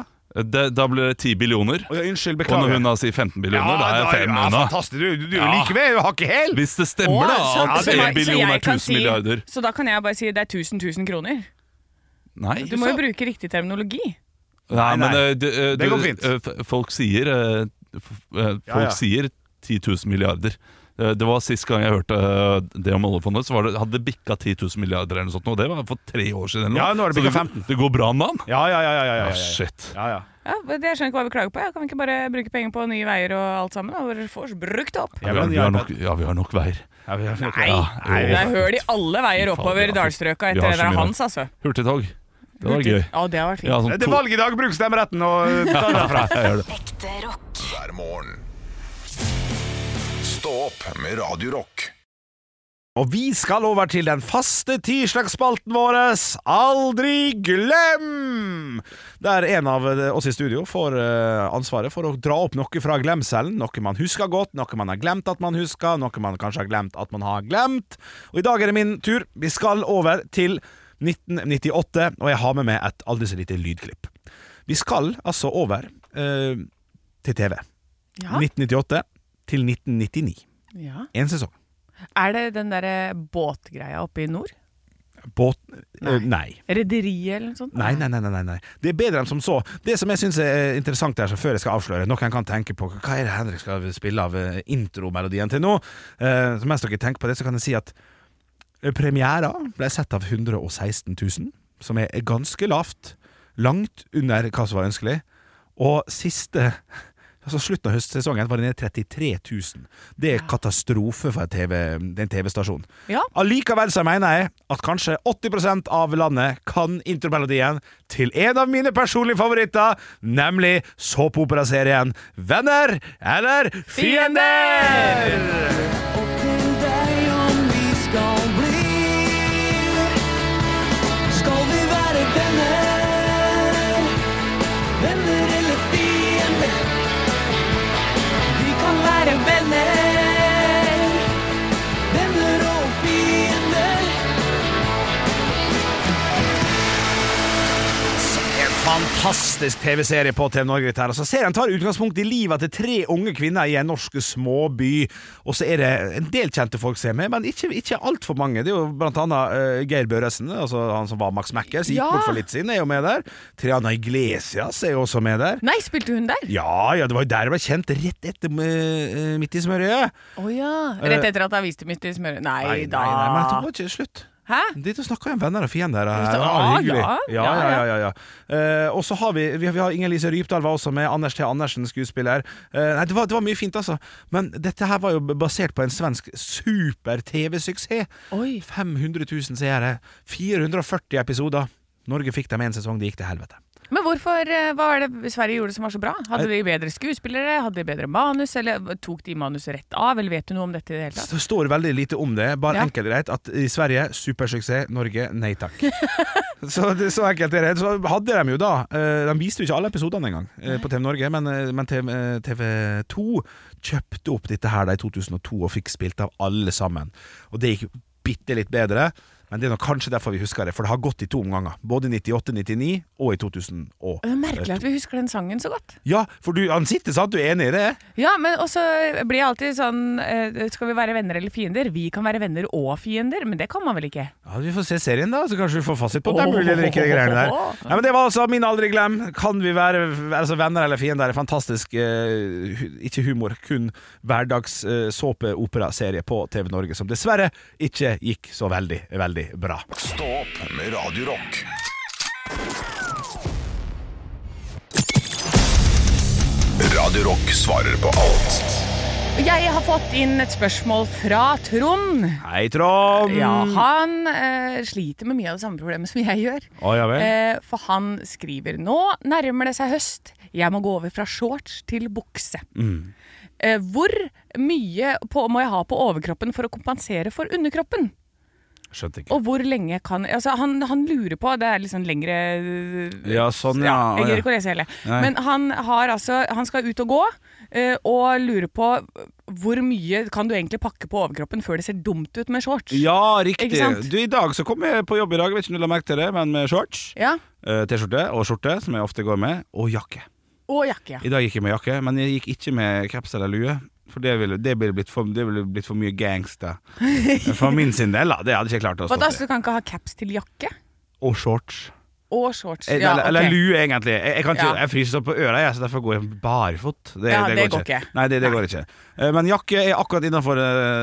[SPEAKER 4] det, da blir det 10 billioner.
[SPEAKER 2] og ja, unnskyld,
[SPEAKER 4] Og når
[SPEAKER 2] beklager.
[SPEAKER 4] hun da sier 15 billioner, da er
[SPEAKER 2] da-
[SPEAKER 4] jeg 5 unna.
[SPEAKER 2] fantastisk. Du, du, du
[SPEAKER 4] Ja.
[SPEAKER 2] liker meg, du har ikke hel!
[SPEAKER 4] Hvis det stemmer,
[SPEAKER 3] Å, så- så
[SPEAKER 4] da, at
[SPEAKER 3] jeg-
[SPEAKER 4] 1
[SPEAKER 3] så
[SPEAKER 4] billion
[SPEAKER 3] jeg
[SPEAKER 4] er
[SPEAKER 3] kan
[SPEAKER 4] 1000
[SPEAKER 3] si-
[SPEAKER 4] milliarder
[SPEAKER 3] Så da kan jeg bare si det er 1000 000 kroner.
[SPEAKER 4] Nei,
[SPEAKER 3] Du må jo bruke riktig terminologi.
[SPEAKER 2] Nei,
[SPEAKER 4] Nei, men
[SPEAKER 2] nei.
[SPEAKER 4] eh, du, eh,
[SPEAKER 2] Det går
[SPEAKER 4] du,
[SPEAKER 2] fint.
[SPEAKER 4] eh, f- Folk sier eh, f- eh, Folk
[SPEAKER 2] Ja, ja.
[SPEAKER 4] sier 10 000 milliarder eh, Det var Sist gang jeg hørte eh, det om oljefondet, Så var det, hadde det bikka 10 000 milliarder, eller noe sånt, nå. det var for tre år siden. eller noe.
[SPEAKER 2] Ja, nå har det
[SPEAKER 4] Så
[SPEAKER 2] bikket
[SPEAKER 4] går-
[SPEAKER 2] 15.
[SPEAKER 4] Det går bra med han?
[SPEAKER 2] Ja, ja, ja. ja, ja, ja,
[SPEAKER 4] Ah,
[SPEAKER 2] ja.
[SPEAKER 4] shit.
[SPEAKER 2] ja, ja.
[SPEAKER 3] Ja, men det skjønner jeg ikke hva vi klager på. Ja, kan vi ikke bare bruke penger på nye veier og alt sammen? Og bare få brukt opp?
[SPEAKER 2] Ja,
[SPEAKER 4] vi, har,
[SPEAKER 2] men
[SPEAKER 4] vi, har
[SPEAKER 2] jeg-
[SPEAKER 4] nok, ja vi har nok veier.
[SPEAKER 2] Ja, vi har-
[SPEAKER 3] Nei,
[SPEAKER 4] Ja,
[SPEAKER 3] nei,
[SPEAKER 4] jo.
[SPEAKER 3] det er høl i alle veier oppover
[SPEAKER 4] Vi har-
[SPEAKER 3] dalstrøka
[SPEAKER 4] vi har
[SPEAKER 3] etter det
[SPEAKER 4] så mye
[SPEAKER 3] der hans, altså.
[SPEAKER 4] Hurtigtog. Det var gøy.
[SPEAKER 3] Ja, det var fint.
[SPEAKER 4] Ja, sånn
[SPEAKER 2] Det er
[SPEAKER 4] to-
[SPEAKER 2] valg i dag, bruk stemmeretten
[SPEAKER 4] *laughs*
[SPEAKER 2] og ta det derfra.
[SPEAKER 4] Jeg gjør det.
[SPEAKER 6] Ekte rock.
[SPEAKER 1] hver morgen. Stå opp med Radio Rock.
[SPEAKER 2] Og vi skal over til den faste tirsdagsspalten vår Aldri glem! Der en av oss i studio får eh, ansvaret for å dra opp noe fra glemselen. Noe man husker godt, noe man har glemt at man husker, noe man kanskje har glemt at man har glemt. Og i dag er det min tur. Vi skal over til 1998, og jeg har med meg et aldri så lite lydklipp. Vi skal altså over eh, til TV.
[SPEAKER 4] altså,
[SPEAKER 3] Ja.
[SPEAKER 2] 1998 til 1999.
[SPEAKER 3] Ja.
[SPEAKER 2] Én sesong.
[SPEAKER 3] Er det den derre båtgreia oppe i nord?
[SPEAKER 2] Båt... eh,
[SPEAKER 3] Nei.
[SPEAKER 2] nei.
[SPEAKER 3] Rederiet eller noe sånt?
[SPEAKER 2] Nei, nei, nei, nei, nei. Det er bedre enn som så. Det som jeg syns er interessant her, så før jeg skal avsløre Noen kan tenke på hva er det Henrik skal spille av eh, intromelodien til nå. Eh, Så mens dere tenker på det, så kan jeg si at eh, premiera ble sett av 116 000, som er ganske lavt. Langt under hva som var ønskelig. Og siste Altså Slutten av høstsesongen var det nede i 33 000. Det er katastrofe for en TV en TV-stasjon.
[SPEAKER 3] Ja.
[SPEAKER 2] Allikevel så mener jeg at kanskje 80 av landet kan intromelodien til en av mine personlige favoritter, nemlig såpeoperaserien Venner eller fiender! En fantastisk TV-serie på TV Norge. Dette her. Altså, serien tar utgangspunkt i livet til tre unge kvinner i en norsk småby. Og så er det en del kjente folk ser med, men ikke, ikke altfor mange. Det er jo blant annet eh, Geir Børresen, altså han som var Max Macker, som gikk
[SPEAKER 3] Ja.
[SPEAKER 2] bort for litt siden, er jo med der. Triana Iglesias er jo også med der.
[SPEAKER 3] Nei, spilte hun der?
[SPEAKER 2] Ja, ja, det var jo der jeg ble kjent, rett etter eh, Midt i smørøyet.
[SPEAKER 3] Å ja. Rett etter at avisen min til smør... Nei,
[SPEAKER 2] Eh, Nei, nei,
[SPEAKER 3] da.
[SPEAKER 2] nei, men det var ikke slutt.
[SPEAKER 3] Hæ?
[SPEAKER 2] Dit og snakka om venner og fiender.
[SPEAKER 3] Ja,
[SPEAKER 2] Det var hyggelig.
[SPEAKER 3] ja.
[SPEAKER 2] Ja, ja, ja, ja, ja. Eh, og så har vi, vi, vi har Inger-Lise Rypdal var også med. Anders T. Andersen, skuespiller. Eh, nei, det var, det var mye fint, altså. Men dette her var jo basert på en svensk super-TV-suksess.
[SPEAKER 3] Oi.
[SPEAKER 2] 500 000 seere. 440 episoder. Norge fikk dem én sesong, det gikk til helvete.
[SPEAKER 3] Men hvorfor, eh, hva var det Sverige gjorde som var så bra? Hadde de bedre skuespillere? Hadde de bedre manus? Eller tok de manuset rett av? Eller vet du noe om dette i det hele tatt?
[SPEAKER 2] Det står veldig lite om det. Bare
[SPEAKER 3] Ja.
[SPEAKER 2] enkelt og greit at i Sverige supersuksess, Norge nei takk. *laughs* så, det, så enkelt er det. Så hadde de jo da eh, De viste jo ikke alle episodene engang eh, på TV Norge, men, eh, men TV, eh, TV2 kjøpte opp dette her da i 2002 og fikk spilt av alle sammen. Og det gikk bitte litt bedre. Men det er nok kanskje derfor vi husker det, for det har gått i to omganger. Både i 98, 99 og i 2000. Og.
[SPEAKER 3] Det er merkelig at vi husker den sangen så godt.
[SPEAKER 2] Ja, for du, han sitter, sant? Du er enig i det?
[SPEAKER 3] Ja, men også blir jeg alltid sånn eh, Skal vi være venner eller fiender? Vi kan være venner og fiender, men det kan man vel ikke?
[SPEAKER 2] Ja, Vi får se serien, da, så kanskje vi får fasit på om det er mulig eller ikke. de greiene der Nei, men Det var altså min aldri glem. Kan vi være altså, venner eller fiender? Fantastisk, eh, hu- ikke humor, kun hverdags eh, såpeoperaserie på TV Norge, som dessverre ikke gikk så veldig, veldig bra.
[SPEAKER 1] Stå opp med Radio Rock. Radio Rock svarer på alt
[SPEAKER 3] Jeg har fått inn et spørsmål fra Trond.
[SPEAKER 2] Hei, Trond!
[SPEAKER 3] Ja, han eh, sliter med mye av det samme problemet som jeg gjør.
[SPEAKER 2] Å, ja vel.
[SPEAKER 3] Eh, for han skriver nå nærmer det seg høst. Jeg må gå over fra shorts til bukse. Eh, hvor mye på, må jeg ha på overkroppen for å kompensere for underkroppen?
[SPEAKER 2] Skjønte ikke.
[SPEAKER 3] Og hvor lenge kan altså han, han lurer på Det er litt sånn lengre
[SPEAKER 2] Ja, sånn, ja.
[SPEAKER 3] Jeg gidder ikke å lese hele.
[SPEAKER 2] Nei.
[SPEAKER 3] Men han, har altså, han skal ut og gå, eh, og lurer på hvor mye kan du egentlig pakke på overkroppen før det ser dumt ut med shorts?
[SPEAKER 2] Ja, riktig.
[SPEAKER 3] Ikke sant?
[SPEAKER 2] Du, I dag så kom jeg på jobb i dag, vet ikke om du la merke til det, men med shorts,
[SPEAKER 3] Ja,
[SPEAKER 2] eh, T-skjorte og skjorte, som jeg ofte går med, og jakke.
[SPEAKER 3] Og jakke. ja.
[SPEAKER 2] I dag gikk jeg med jakke, men jeg gikk ikke med caps eller lue. For det ville, det ville, blitt, for, det ville blitt for mye gangster. For min sin del, da. Det hadde jeg ikke klart å
[SPEAKER 3] Hva
[SPEAKER 2] stå
[SPEAKER 3] da,
[SPEAKER 2] til.
[SPEAKER 3] så du kan ikke ha caps til jakke?
[SPEAKER 2] Og shorts.
[SPEAKER 3] Å og shorts.
[SPEAKER 2] Eh,
[SPEAKER 3] Ja,
[SPEAKER 2] eller, eller
[SPEAKER 3] ok.
[SPEAKER 2] lue, egentlig. Jeg, jeg, kan ikke,
[SPEAKER 3] Ja.
[SPEAKER 2] jeg fryser opp på øra, jeg, så derfor går jeg barfot.
[SPEAKER 3] Ja, det går ikke.
[SPEAKER 2] Nei, det, det går ikke. Eh, Men jakke er akkurat innafor,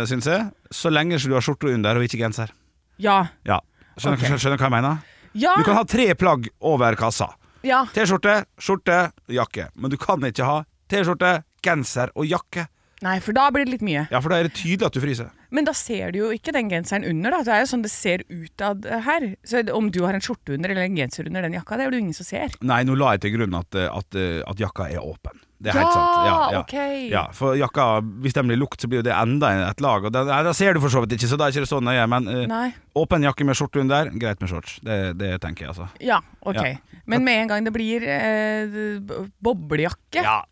[SPEAKER 2] syns jeg. Så lenge ikke du har skjorte under og ikke genser.
[SPEAKER 3] Ja.
[SPEAKER 2] Ja. Skjønner,
[SPEAKER 3] Ok.
[SPEAKER 2] skjønner du hva jeg mener?
[SPEAKER 3] Ja,
[SPEAKER 2] Du kan ha tre plagg over kassa.
[SPEAKER 3] ja.
[SPEAKER 2] T-skjorte, skjorte, jakke. Men du kan ikke ha T-skjorte, genser og jakke.
[SPEAKER 3] Nei, for da blir det litt mye.
[SPEAKER 2] Ja, for da er det tydelig at du fryser.
[SPEAKER 3] Men da ser du jo ikke den genseren under, da. Det er jo sånn det ser utad eh, her. Så om du har en skjorte under eller en genser under den jakka, det er det jo ingen som ser.
[SPEAKER 2] Nei, nå la jeg til grunn at, eh, at, eh, at jakka er åpen. Det er
[SPEAKER 3] Ja,
[SPEAKER 2] helt sant.
[SPEAKER 3] ok.
[SPEAKER 2] ja, for jakka, hvis den blir lukt, så blir jo det enda et lag. Og det, nei, da ser du for så vidt ikke, så da er ikke det så nøye. Men eh,
[SPEAKER 3] Nei.
[SPEAKER 2] åpen jakke med skjorte under, greit med shorts. Det, det tenker jeg, altså.
[SPEAKER 3] Ja, ok.
[SPEAKER 2] Ja.
[SPEAKER 3] Men med en gang det blir eh, b- boblejakke,
[SPEAKER 2] Ja.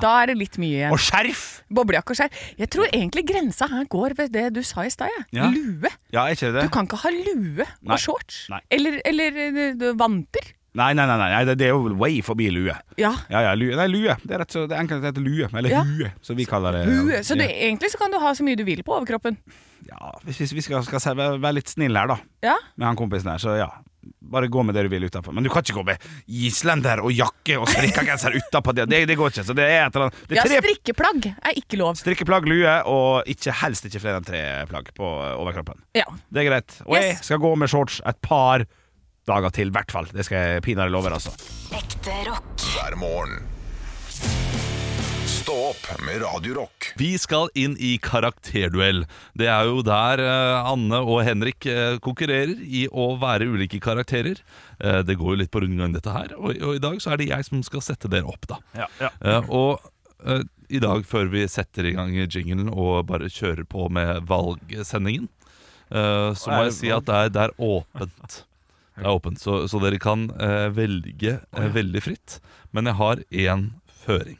[SPEAKER 3] da er det litt mye
[SPEAKER 2] Og
[SPEAKER 3] igjen.
[SPEAKER 2] skjerf!
[SPEAKER 3] Boblejakke og skjerf. Jeg tror egentlig grensa her går ved det du sa i stad, jeg.
[SPEAKER 2] Ja.
[SPEAKER 3] Lue.
[SPEAKER 2] Ja, er ikke det
[SPEAKER 3] Du
[SPEAKER 2] det?
[SPEAKER 3] kan ikke ha lue
[SPEAKER 2] Nei.
[SPEAKER 3] og shorts.
[SPEAKER 2] Nei.
[SPEAKER 3] Eller, eller eh, vanter.
[SPEAKER 2] Nei, nei, nei, nei det, det er jo way forbi lue.
[SPEAKER 3] Ja.
[SPEAKER 2] Ja, ja, lue. Nei, lue. Det er rett så, det er enkelt det heter lue. Eller
[SPEAKER 3] Ja.
[SPEAKER 2] hue, som vi kaller det.
[SPEAKER 3] Lue. Så det,
[SPEAKER 2] ja.
[SPEAKER 3] egentlig så kan du ha så mye du vil på overkroppen.
[SPEAKER 2] ja, hvis hvis vi skal, skal se- være, være litt snille her, da,
[SPEAKER 3] Ja.
[SPEAKER 2] med han kompisen her, så ja. Bare gå med det du vil utenfor. Men du kan ikke gå med islender og jakke og strikkegenser utapå. Det, det, det går ikke. Så det er et eller annet Det
[SPEAKER 3] ja,
[SPEAKER 2] er tre
[SPEAKER 3] strikkeplagg er ikke lov.
[SPEAKER 2] strikkeplagg, lue og ikke, helst ikke flere enn tre plagg på overkroppen.
[SPEAKER 3] Ja.
[SPEAKER 2] Det er greit. Og jeg
[SPEAKER 3] Yes.
[SPEAKER 2] skal gå med shorts et par dager til, i hvert fall. Det skal jeg pinadø love, altså.
[SPEAKER 6] Ekte rock.
[SPEAKER 1] hver morgen. Stå opp med Radio Rock.
[SPEAKER 4] Vi skal inn i karakterduell. Det er jo der eh, Anne og Henrik eh, konkurrerer i å være ulike karakterer. Eh, det går jo litt på rundgang, dette her. Og, og i dag så er det jeg som skal sette dere opp, da.
[SPEAKER 2] Ja, ja.
[SPEAKER 4] Eh, og eh, i dag, før vi setter i gang jinglen og bare kjører på med valgsendingen, eh, så må
[SPEAKER 2] Er det
[SPEAKER 4] jeg si at det er, det er åpent. Det er åpent, Så, så dere kan eh, velge eh, veldig fritt. Men jeg har én føring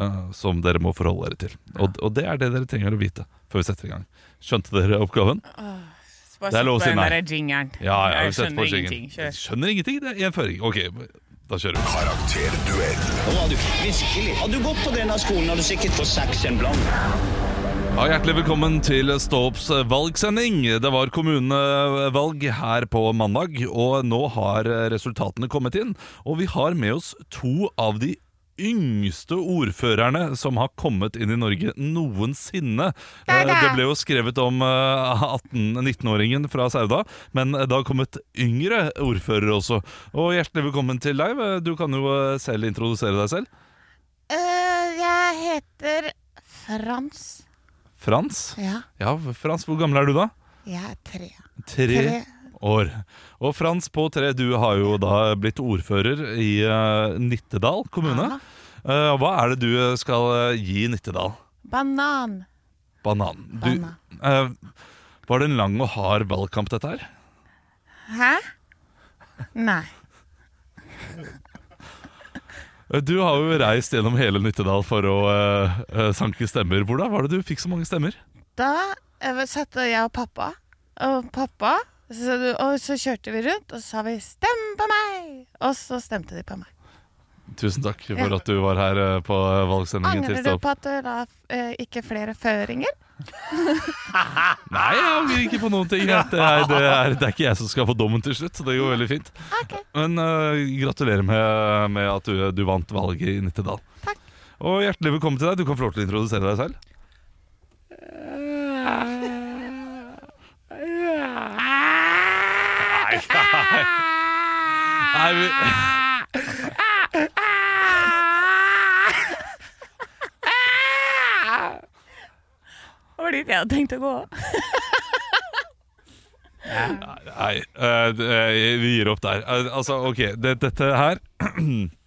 [SPEAKER 4] eh, som dere må forholde dere til. Og, og det er det dere trenger å vite før vi setter i gang. Skjønte dere oppgaven? Det er lov å si nei. Ja, ja, vi setter på jingle. Jeg Skjønner ingenting, det er én føring. Ok, da kjører vi.
[SPEAKER 1] Karakterduell
[SPEAKER 7] Nå har du virkelig. Hadde du gått på denne skolen, hadde du sikkert fått seks en blant.
[SPEAKER 4] Ja, hjertelig velkommen til Ståops eh, valgsending. Det var kommunevalg her på mandag, og nå har eh, resultatene kommet inn. Og vi har med oss to av de yngste ordførerne som har kommet inn i Norge noensinne. Eh, Det ble jo skrevet om eh, 18 19-åringen fra Sauda, men eh, det har kommet yngre ordførere også. Og hjertelig velkommen til deg. Du kan jo eh, selv introdusere deg selv.
[SPEAKER 8] Eh, jeg heter Frans.
[SPEAKER 4] Frans.
[SPEAKER 8] Ja,
[SPEAKER 4] Ja, Frans, hvor gammel er du da?
[SPEAKER 8] jeg er tre.
[SPEAKER 4] Tre
[SPEAKER 8] Tre.
[SPEAKER 4] år. Og Frans på tre, du har jo da blitt ordfører i eh, Nittedal kommune. Eh, hva er det du skal eh, gi Nittedal?
[SPEAKER 8] Banan.
[SPEAKER 4] Banan. Du,
[SPEAKER 8] Banan.
[SPEAKER 4] eh, var det en lang og hard valgkamp, dette her?
[SPEAKER 8] Hæ? Nei.
[SPEAKER 4] Eh, Du har jo reist gjennom hele Nittedal for å eh, eh, sanke stemmer. Hvordan var det du fikk så mange stemmer?
[SPEAKER 8] Da eh, satt jeg og pappa og pappa, så, og så kjørte vi rundt, og så sa vi 'stem på meg', og så stemte de på meg.
[SPEAKER 4] Tusen takk for
[SPEAKER 8] Ja.
[SPEAKER 4] at du var her eh, på valgsendingen til
[SPEAKER 8] Angrer du
[SPEAKER 4] Stopp.
[SPEAKER 8] på at du la eh, ikke flere føringer?
[SPEAKER 4] Nei, jeg angrer ikke på noen ting. Det er, det, er, det er ikke jeg som skal få dommen til slutt, så det går veldig fint.
[SPEAKER 8] Ok.
[SPEAKER 4] Men eh, gratulerer med, med at du, du vant valget i Nittedal.
[SPEAKER 8] Takk.
[SPEAKER 4] Og hjertelig velkommen til deg. Du kan få lov til å introdusere deg selv. Nei, nei. Nei,
[SPEAKER 8] *laughs*
[SPEAKER 4] vi...
[SPEAKER 3] Det var dit jeg hadde tenkt å gå.
[SPEAKER 4] Nei, eh, eh, vi gir opp der. Eh, altså, ok, det, dette her *clears throat*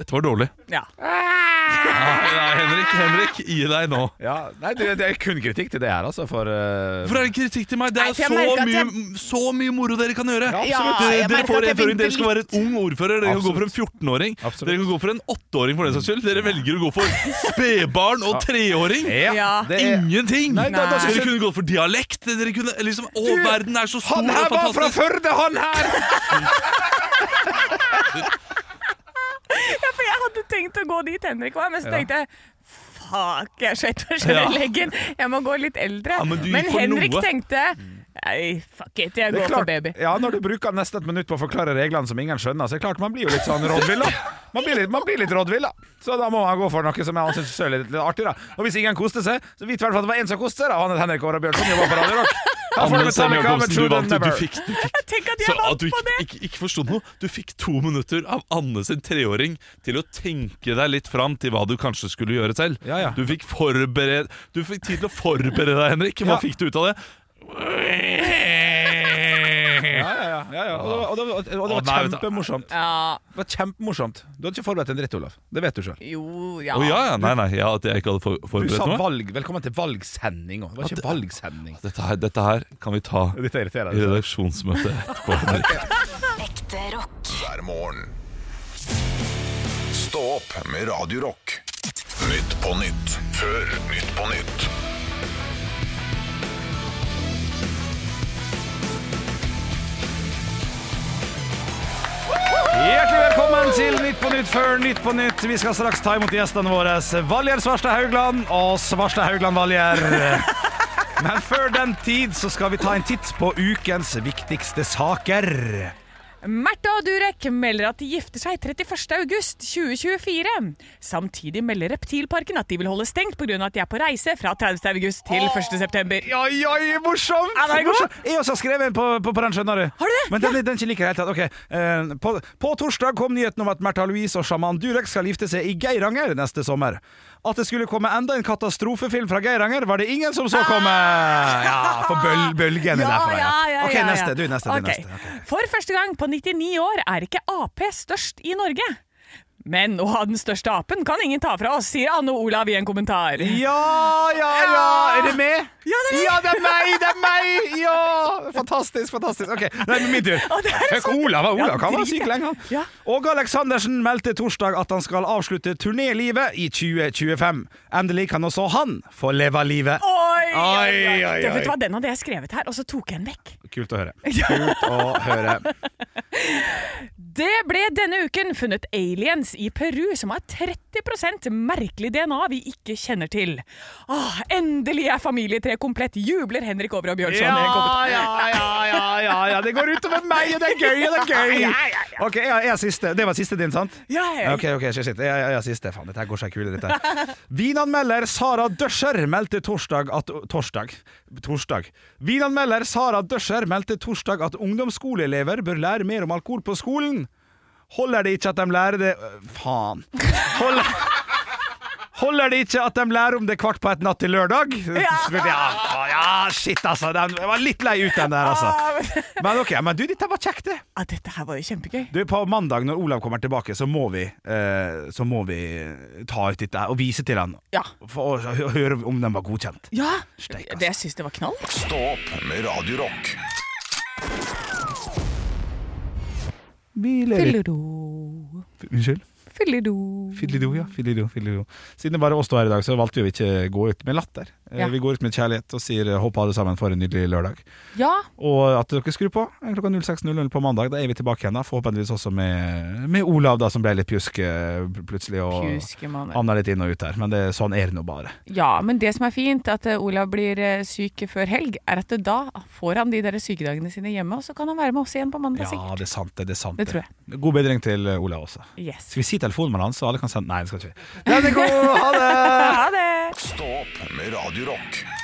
[SPEAKER 4] Dette var dårlig.
[SPEAKER 3] Ja.
[SPEAKER 4] Nei, nei, Henrik, Henrik, gi deg nå.
[SPEAKER 2] Ja, nei, det, det er kun kritikk til det her, altså, for eh,
[SPEAKER 4] Hvorfor er det kritikk til meg? Det er
[SPEAKER 3] Nei, for jeg
[SPEAKER 4] så,
[SPEAKER 3] merker at
[SPEAKER 4] mye,
[SPEAKER 3] jeg-
[SPEAKER 4] så mye moro dere kan gjøre.
[SPEAKER 8] absolutt. jeg
[SPEAKER 4] Dere- dere
[SPEAKER 8] merker
[SPEAKER 4] får
[SPEAKER 8] at
[SPEAKER 4] en
[SPEAKER 8] jeg
[SPEAKER 4] føring.
[SPEAKER 8] begynte
[SPEAKER 4] Dere skal være en ung ordfører. Dere kan gå for en 14-åring.
[SPEAKER 2] Absolutt.
[SPEAKER 4] Dere kan gå for en 8-åring for den saks skyld. Dere velger å gå for spedbarn og 3-åring.
[SPEAKER 2] Ja,
[SPEAKER 3] Ja.
[SPEAKER 2] det er
[SPEAKER 4] Ingenting!
[SPEAKER 2] Nei, da- da
[SPEAKER 4] Dere
[SPEAKER 2] synes jeg-
[SPEAKER 4] kunne gått for dialekt. Dere kunne liksom Å, verden er så stor
[SPEAKER 2] Han her
[SPEAKER 4] og
[SPEAKER 2] var fra
[SPEAKER 4] fantastisk.
[SPEAKER 2] Førde, han her!
[SPEAKER 3] Ja, *laughs* for jeg hadde tenkt å gå dit Henrik var, men så tenkte jeg Fuck, jeg skjøt meg sjøl
[SPEAKER 4] Ja.
[SPEAKER 3] i leggen. Jeg må gå litt eldre.
[SPEAKER 4] Ja, men du gikk
[SPEAKER 3] men
[SPEAKER 4] for
[SPEAKER 3] Henrik
[SPEAKER 4] noe.
[SPEAKER 3] tenkte Nei, fuck it, jeg
[SPEAKER 2] Det er
[SPEAKER 3] går for
[SPEAKER 2] klart,
[SPEAKER 3] baby.
[SPEAKER 2] ja, Når du bruker nesten et minutt på å forklare reglene som ingen skjønner, så er det klart man blir jo litt sånn rådvill. da. Man blir litt, man blir litt rådvill, da. Så da må man gå for noe som jeg synes selv er litt, litt artig. da. Og hvis ingen koster seg, så vet vi i hvert fall at det var en som koste seg, da. Han het Henrik Åre Bjørnson, jobba på Radio Rock. Her får du
[SPEAKER 4] Anne Sem
[SPEAKER 2] Metallica med
[SPEAKER 4] Jacobsen,
[SPEAKER 2] True
[SPEAKER 4] du vant.
[SPEAKER 2] Than
[SPEAKER 4] Du
[SPEAKER 2] Never.
[SPEAKER 4] fikk, du fikk
[SPEAKER 3] Tenk at
[SPEAKER 4] Så
[SPEAKER 3] jeg
[SPEAKER 4] at
[SPEAKER 3] vant
[SPEAKER 4] du
[SPEAKER 3] på
[SPEAKER 4] ikke,
[SPEAKER 3] det!
[SPEAKER 4] ikke, ikke forsto noe. Du fikk to minutter av Anne sin treåring til å tenke deg litt fram til hva du kanskje skulle gjøre selv.
[SPEAKER 2] Ja, ja.
[SPEAKER 4] Du fikk forbered- Du fikk tid til å forberede deg, Henrik. Hva
[SPEAKER 2] Ja.
[SPEAKER 4] fikk du ut av det?
[SPEAKER 2] Ja, ja, ja, ja, ja. Og, det var- og, det var- og det
[SPEAKER 4] Å,
[SPEAKER 2] var
[SPEAKER 4] nei, vet du.
[SPEAKER 2] kjempemorsomt.
[SPEAKER 3] Ja,
[SPEAKER 2] Det var kjempemorsomt. Du hadde ikke forberedt en dritt, Olaf. Det vet du sjøl.
[SPEAKER 3] jo,
[SPEAKER 4] Å
[SPEAKER 3] ja.
[SPEAKER 4] ja, ja, nei, nei, ja, at jeg ikke hadde for,
[SPEAKER 2] Du
[SPEAKER 4] forberedt
[SPEAKER 2] sa
[SPEAKER 4] meg?
[SPEAKER 2] valg. Velkommen til valgsending òg. Det var ikke valgsending.
[SPEAKER 4] Dette her, dette her kan vi ta
[SPEAKER 2] Dette irriterer
[SPEAKER 4] i redaksjonsmøtet etterpå. Henrik.
[SPEAKER 6] Ekte rock.
[SPEAKER 1] hver morgen. Stå opp med Radio Rock. Nytt på nytt før Nytt på nytt.
[SPEAKER 2] Hjertelig velkommen til Nytt på Nytt før Nytt på Nytt. Vi skal straks ta imot gjestene våre, Valjer Svarstad Haugland og Svarstad Haugland Valjer. Men før den tid så skal vi ta en titt på ukens viktigste saker.
[SPEAKER 3] Märtha Durek melder at de gifter seg 31.8.2024. Samtidig melder Reptilparken at de vil holde stengt pga. at de er på reise fra 30.8 til 1.9.
[SPEAKER 2] Oi, oi, morsomt!
[SPEAKER 3] Er den god?
[SPEAKER 2] morsomt. Jeg også har skrevet en på, på, på den, skjønner du.
[SPEAKER 3] Har du det?
[SPEAKER 2] Men den, den ikke liker jeg helt. Ok, eh, på, på torsdag kom nyheten om at Märtha Louise og sjaman Durek skal gifte seg i Geiranger neste sommer. At det skulle komme enda en katastrofefilm fra Geiranger, var det ingen som så komme!
[SPEAKER 3] Ah!
[SPEAKER 2] Ja, for bøl, bølgen er derfor. Ok, neste. Du, neste.
[SPEAKER 3] Ok.
[SPEAKER 2] Du, neste. Ok.
[SPEAKER 3] For første gang på 99 år er ikke Ap størst i Norge. Men å ha den største apen kan ingen ta fra oss, sier Anne Olav i en kommentar.
[SPEAKER 2] Ja, ja, ja! Er det meg?
[SPEAKER 3] Ja, det er det.
[SPEAKER 2] ja, det er meg! Det er meg! Ja! Fantastisk, fantastisk. Ok, det er min tur.
[SPEAKER 3] Å, det er
[SPEAKER 2] Fuck
[SPEAKER 3] sånn-
[SPEAKER 2] Olav, hva? Olav
[SPEAKER 3] Ja,
[SPEAKER 2] kan være
[SPEAKER 3] drit i.
[SPEAKER 2] syk lenge. han.
[SPEAKER 3] Ja.
[SPEAKER 2] Åge Aleksandersen meldte torsdag at han skal avslutte turnélivet i 2025. Endelig kan også han få leve livet.
[SPEAKER 3] Oi,
[SPEAKER 2] Oi,
[SPEAKER 3] oi, oi.
[SPEAKER 2] oi,
[SPEAKER 3] Det, vet du
[SPEAKER 2] oi.
[SPEAKER 3] hva, Den hadde jeg skrevet her, og så tok jeg den vekk.
[SPEAKER 2] Kult å høre. Kult å høre.
[SPEAKER 3] Det ble denne uken funnet aliens i Peru som har 30 merkelig DNA vi ikke kjenner til. Åh, endelig er familietre komplett, jubler Henrik Over og Bjørnson.
[SPEAKER 2] sånn
[SPEAKER 3] i en
[SPEAKER 2] Ja,
[SPEAKER 3] kommentar.
[SPEAKER 2] ja, ja, ja, ja, ja. Det går utover meg, og det er gøy, og det er gøy. Ok, jeg, jeg er siste. Det var siste din, sant?
[SPEAKER 3] Ja, ja,
[SPEAKER 2] Ok, ok, shit, shit. Jeg, jeg, jeg er siste. Faen, dette her går seg kule, dette *laughs* her. Vinanmelder Sara Døscher meldte torsdag at Torsdag? Torsdag. Vinanmelder Sara Døscher meldte torsdag at ungdomsskoleelever bør lære mer om alkohol på skolen. Holder det ikke at de lærer det Øh, Faen. Holder, *laughs* holder det ikke at de lærer om det kvart på ett natt til lørdag? Ja, faen, ja shit, altså. Den, jeg var litt lei ut den der, altså. Men ok, men du, dette var kjekt, det.
[SPEAKER 3] Ja, dette her var jo kjempegøy.
[SPEAKER 2] Du, På mandag når Olav kommer tilbake, så må vi, eh, så må vi ta ut dette her og vise til han.
[SPEAKER 3] Ja.
[SPEAKER 2] For å hø- høre om den var godkjent.
[SPEAKER 3] Ja,
[SPEAKER 2] Steik, altså.
[SPEAKER 3] det jeg syns det var knall.
[SPEAKER 1] Stå opp med Radio Rock.
[SPEAKER 2] Vi lever
[SPEAKER 3] Fylledo,
[SPEAKER 2] Unnskyld?
[SPEAKER 3] fylledo.
[SPEAKER 2] Fidlido, ja. Fidlido, fidlido. Siden det bare oss to her i dag, så valgte vi å ikke gå ut med latter. Eh,
[SPEAKER 3] Ja.
[SPEAKER 2] Vi går ut med kjærlighet og sier eh, håper alle sammen får en nydelig lørdag.
[SPEAKER 3] Ja,
[SPEAKER 2] Og at dere skrur på eh, klokka 06.00 på mandag. Da er vi tilbake igjen, da. Forhåpentligvis også med, med Olav, da, som ble litt pjusk eh, plutselig. Og
[SPEAKER 3] pjuskemaner.
[SPEAKER 2] Anna litt inn og ut der. Men det, sånn er det nå bare.
[SPEAKER 3] Ja, men det som er fint, at eh, Olav blir eh, syk før helg, er at det da får han de der sykedagene sine hjemme, og så kan han være med oss igjen på mandag.
[SPEAKER 2] Ja, det er sant det. Det, er sant,
[SPEAKER 3] Det tror
[SPEAKER 2] God bedring til eh, Olav også.
[SPEAKER 3] sikkert. Yes.
[SPEAKER 2] Skal vi si telefonnummeret hans, så alle kan sende Nei, det skal vi ikke. Den er god! Ha det!
[SPEAKER 3] Ha det!
[SPEAKER 1] Stå opp med Radio Rock.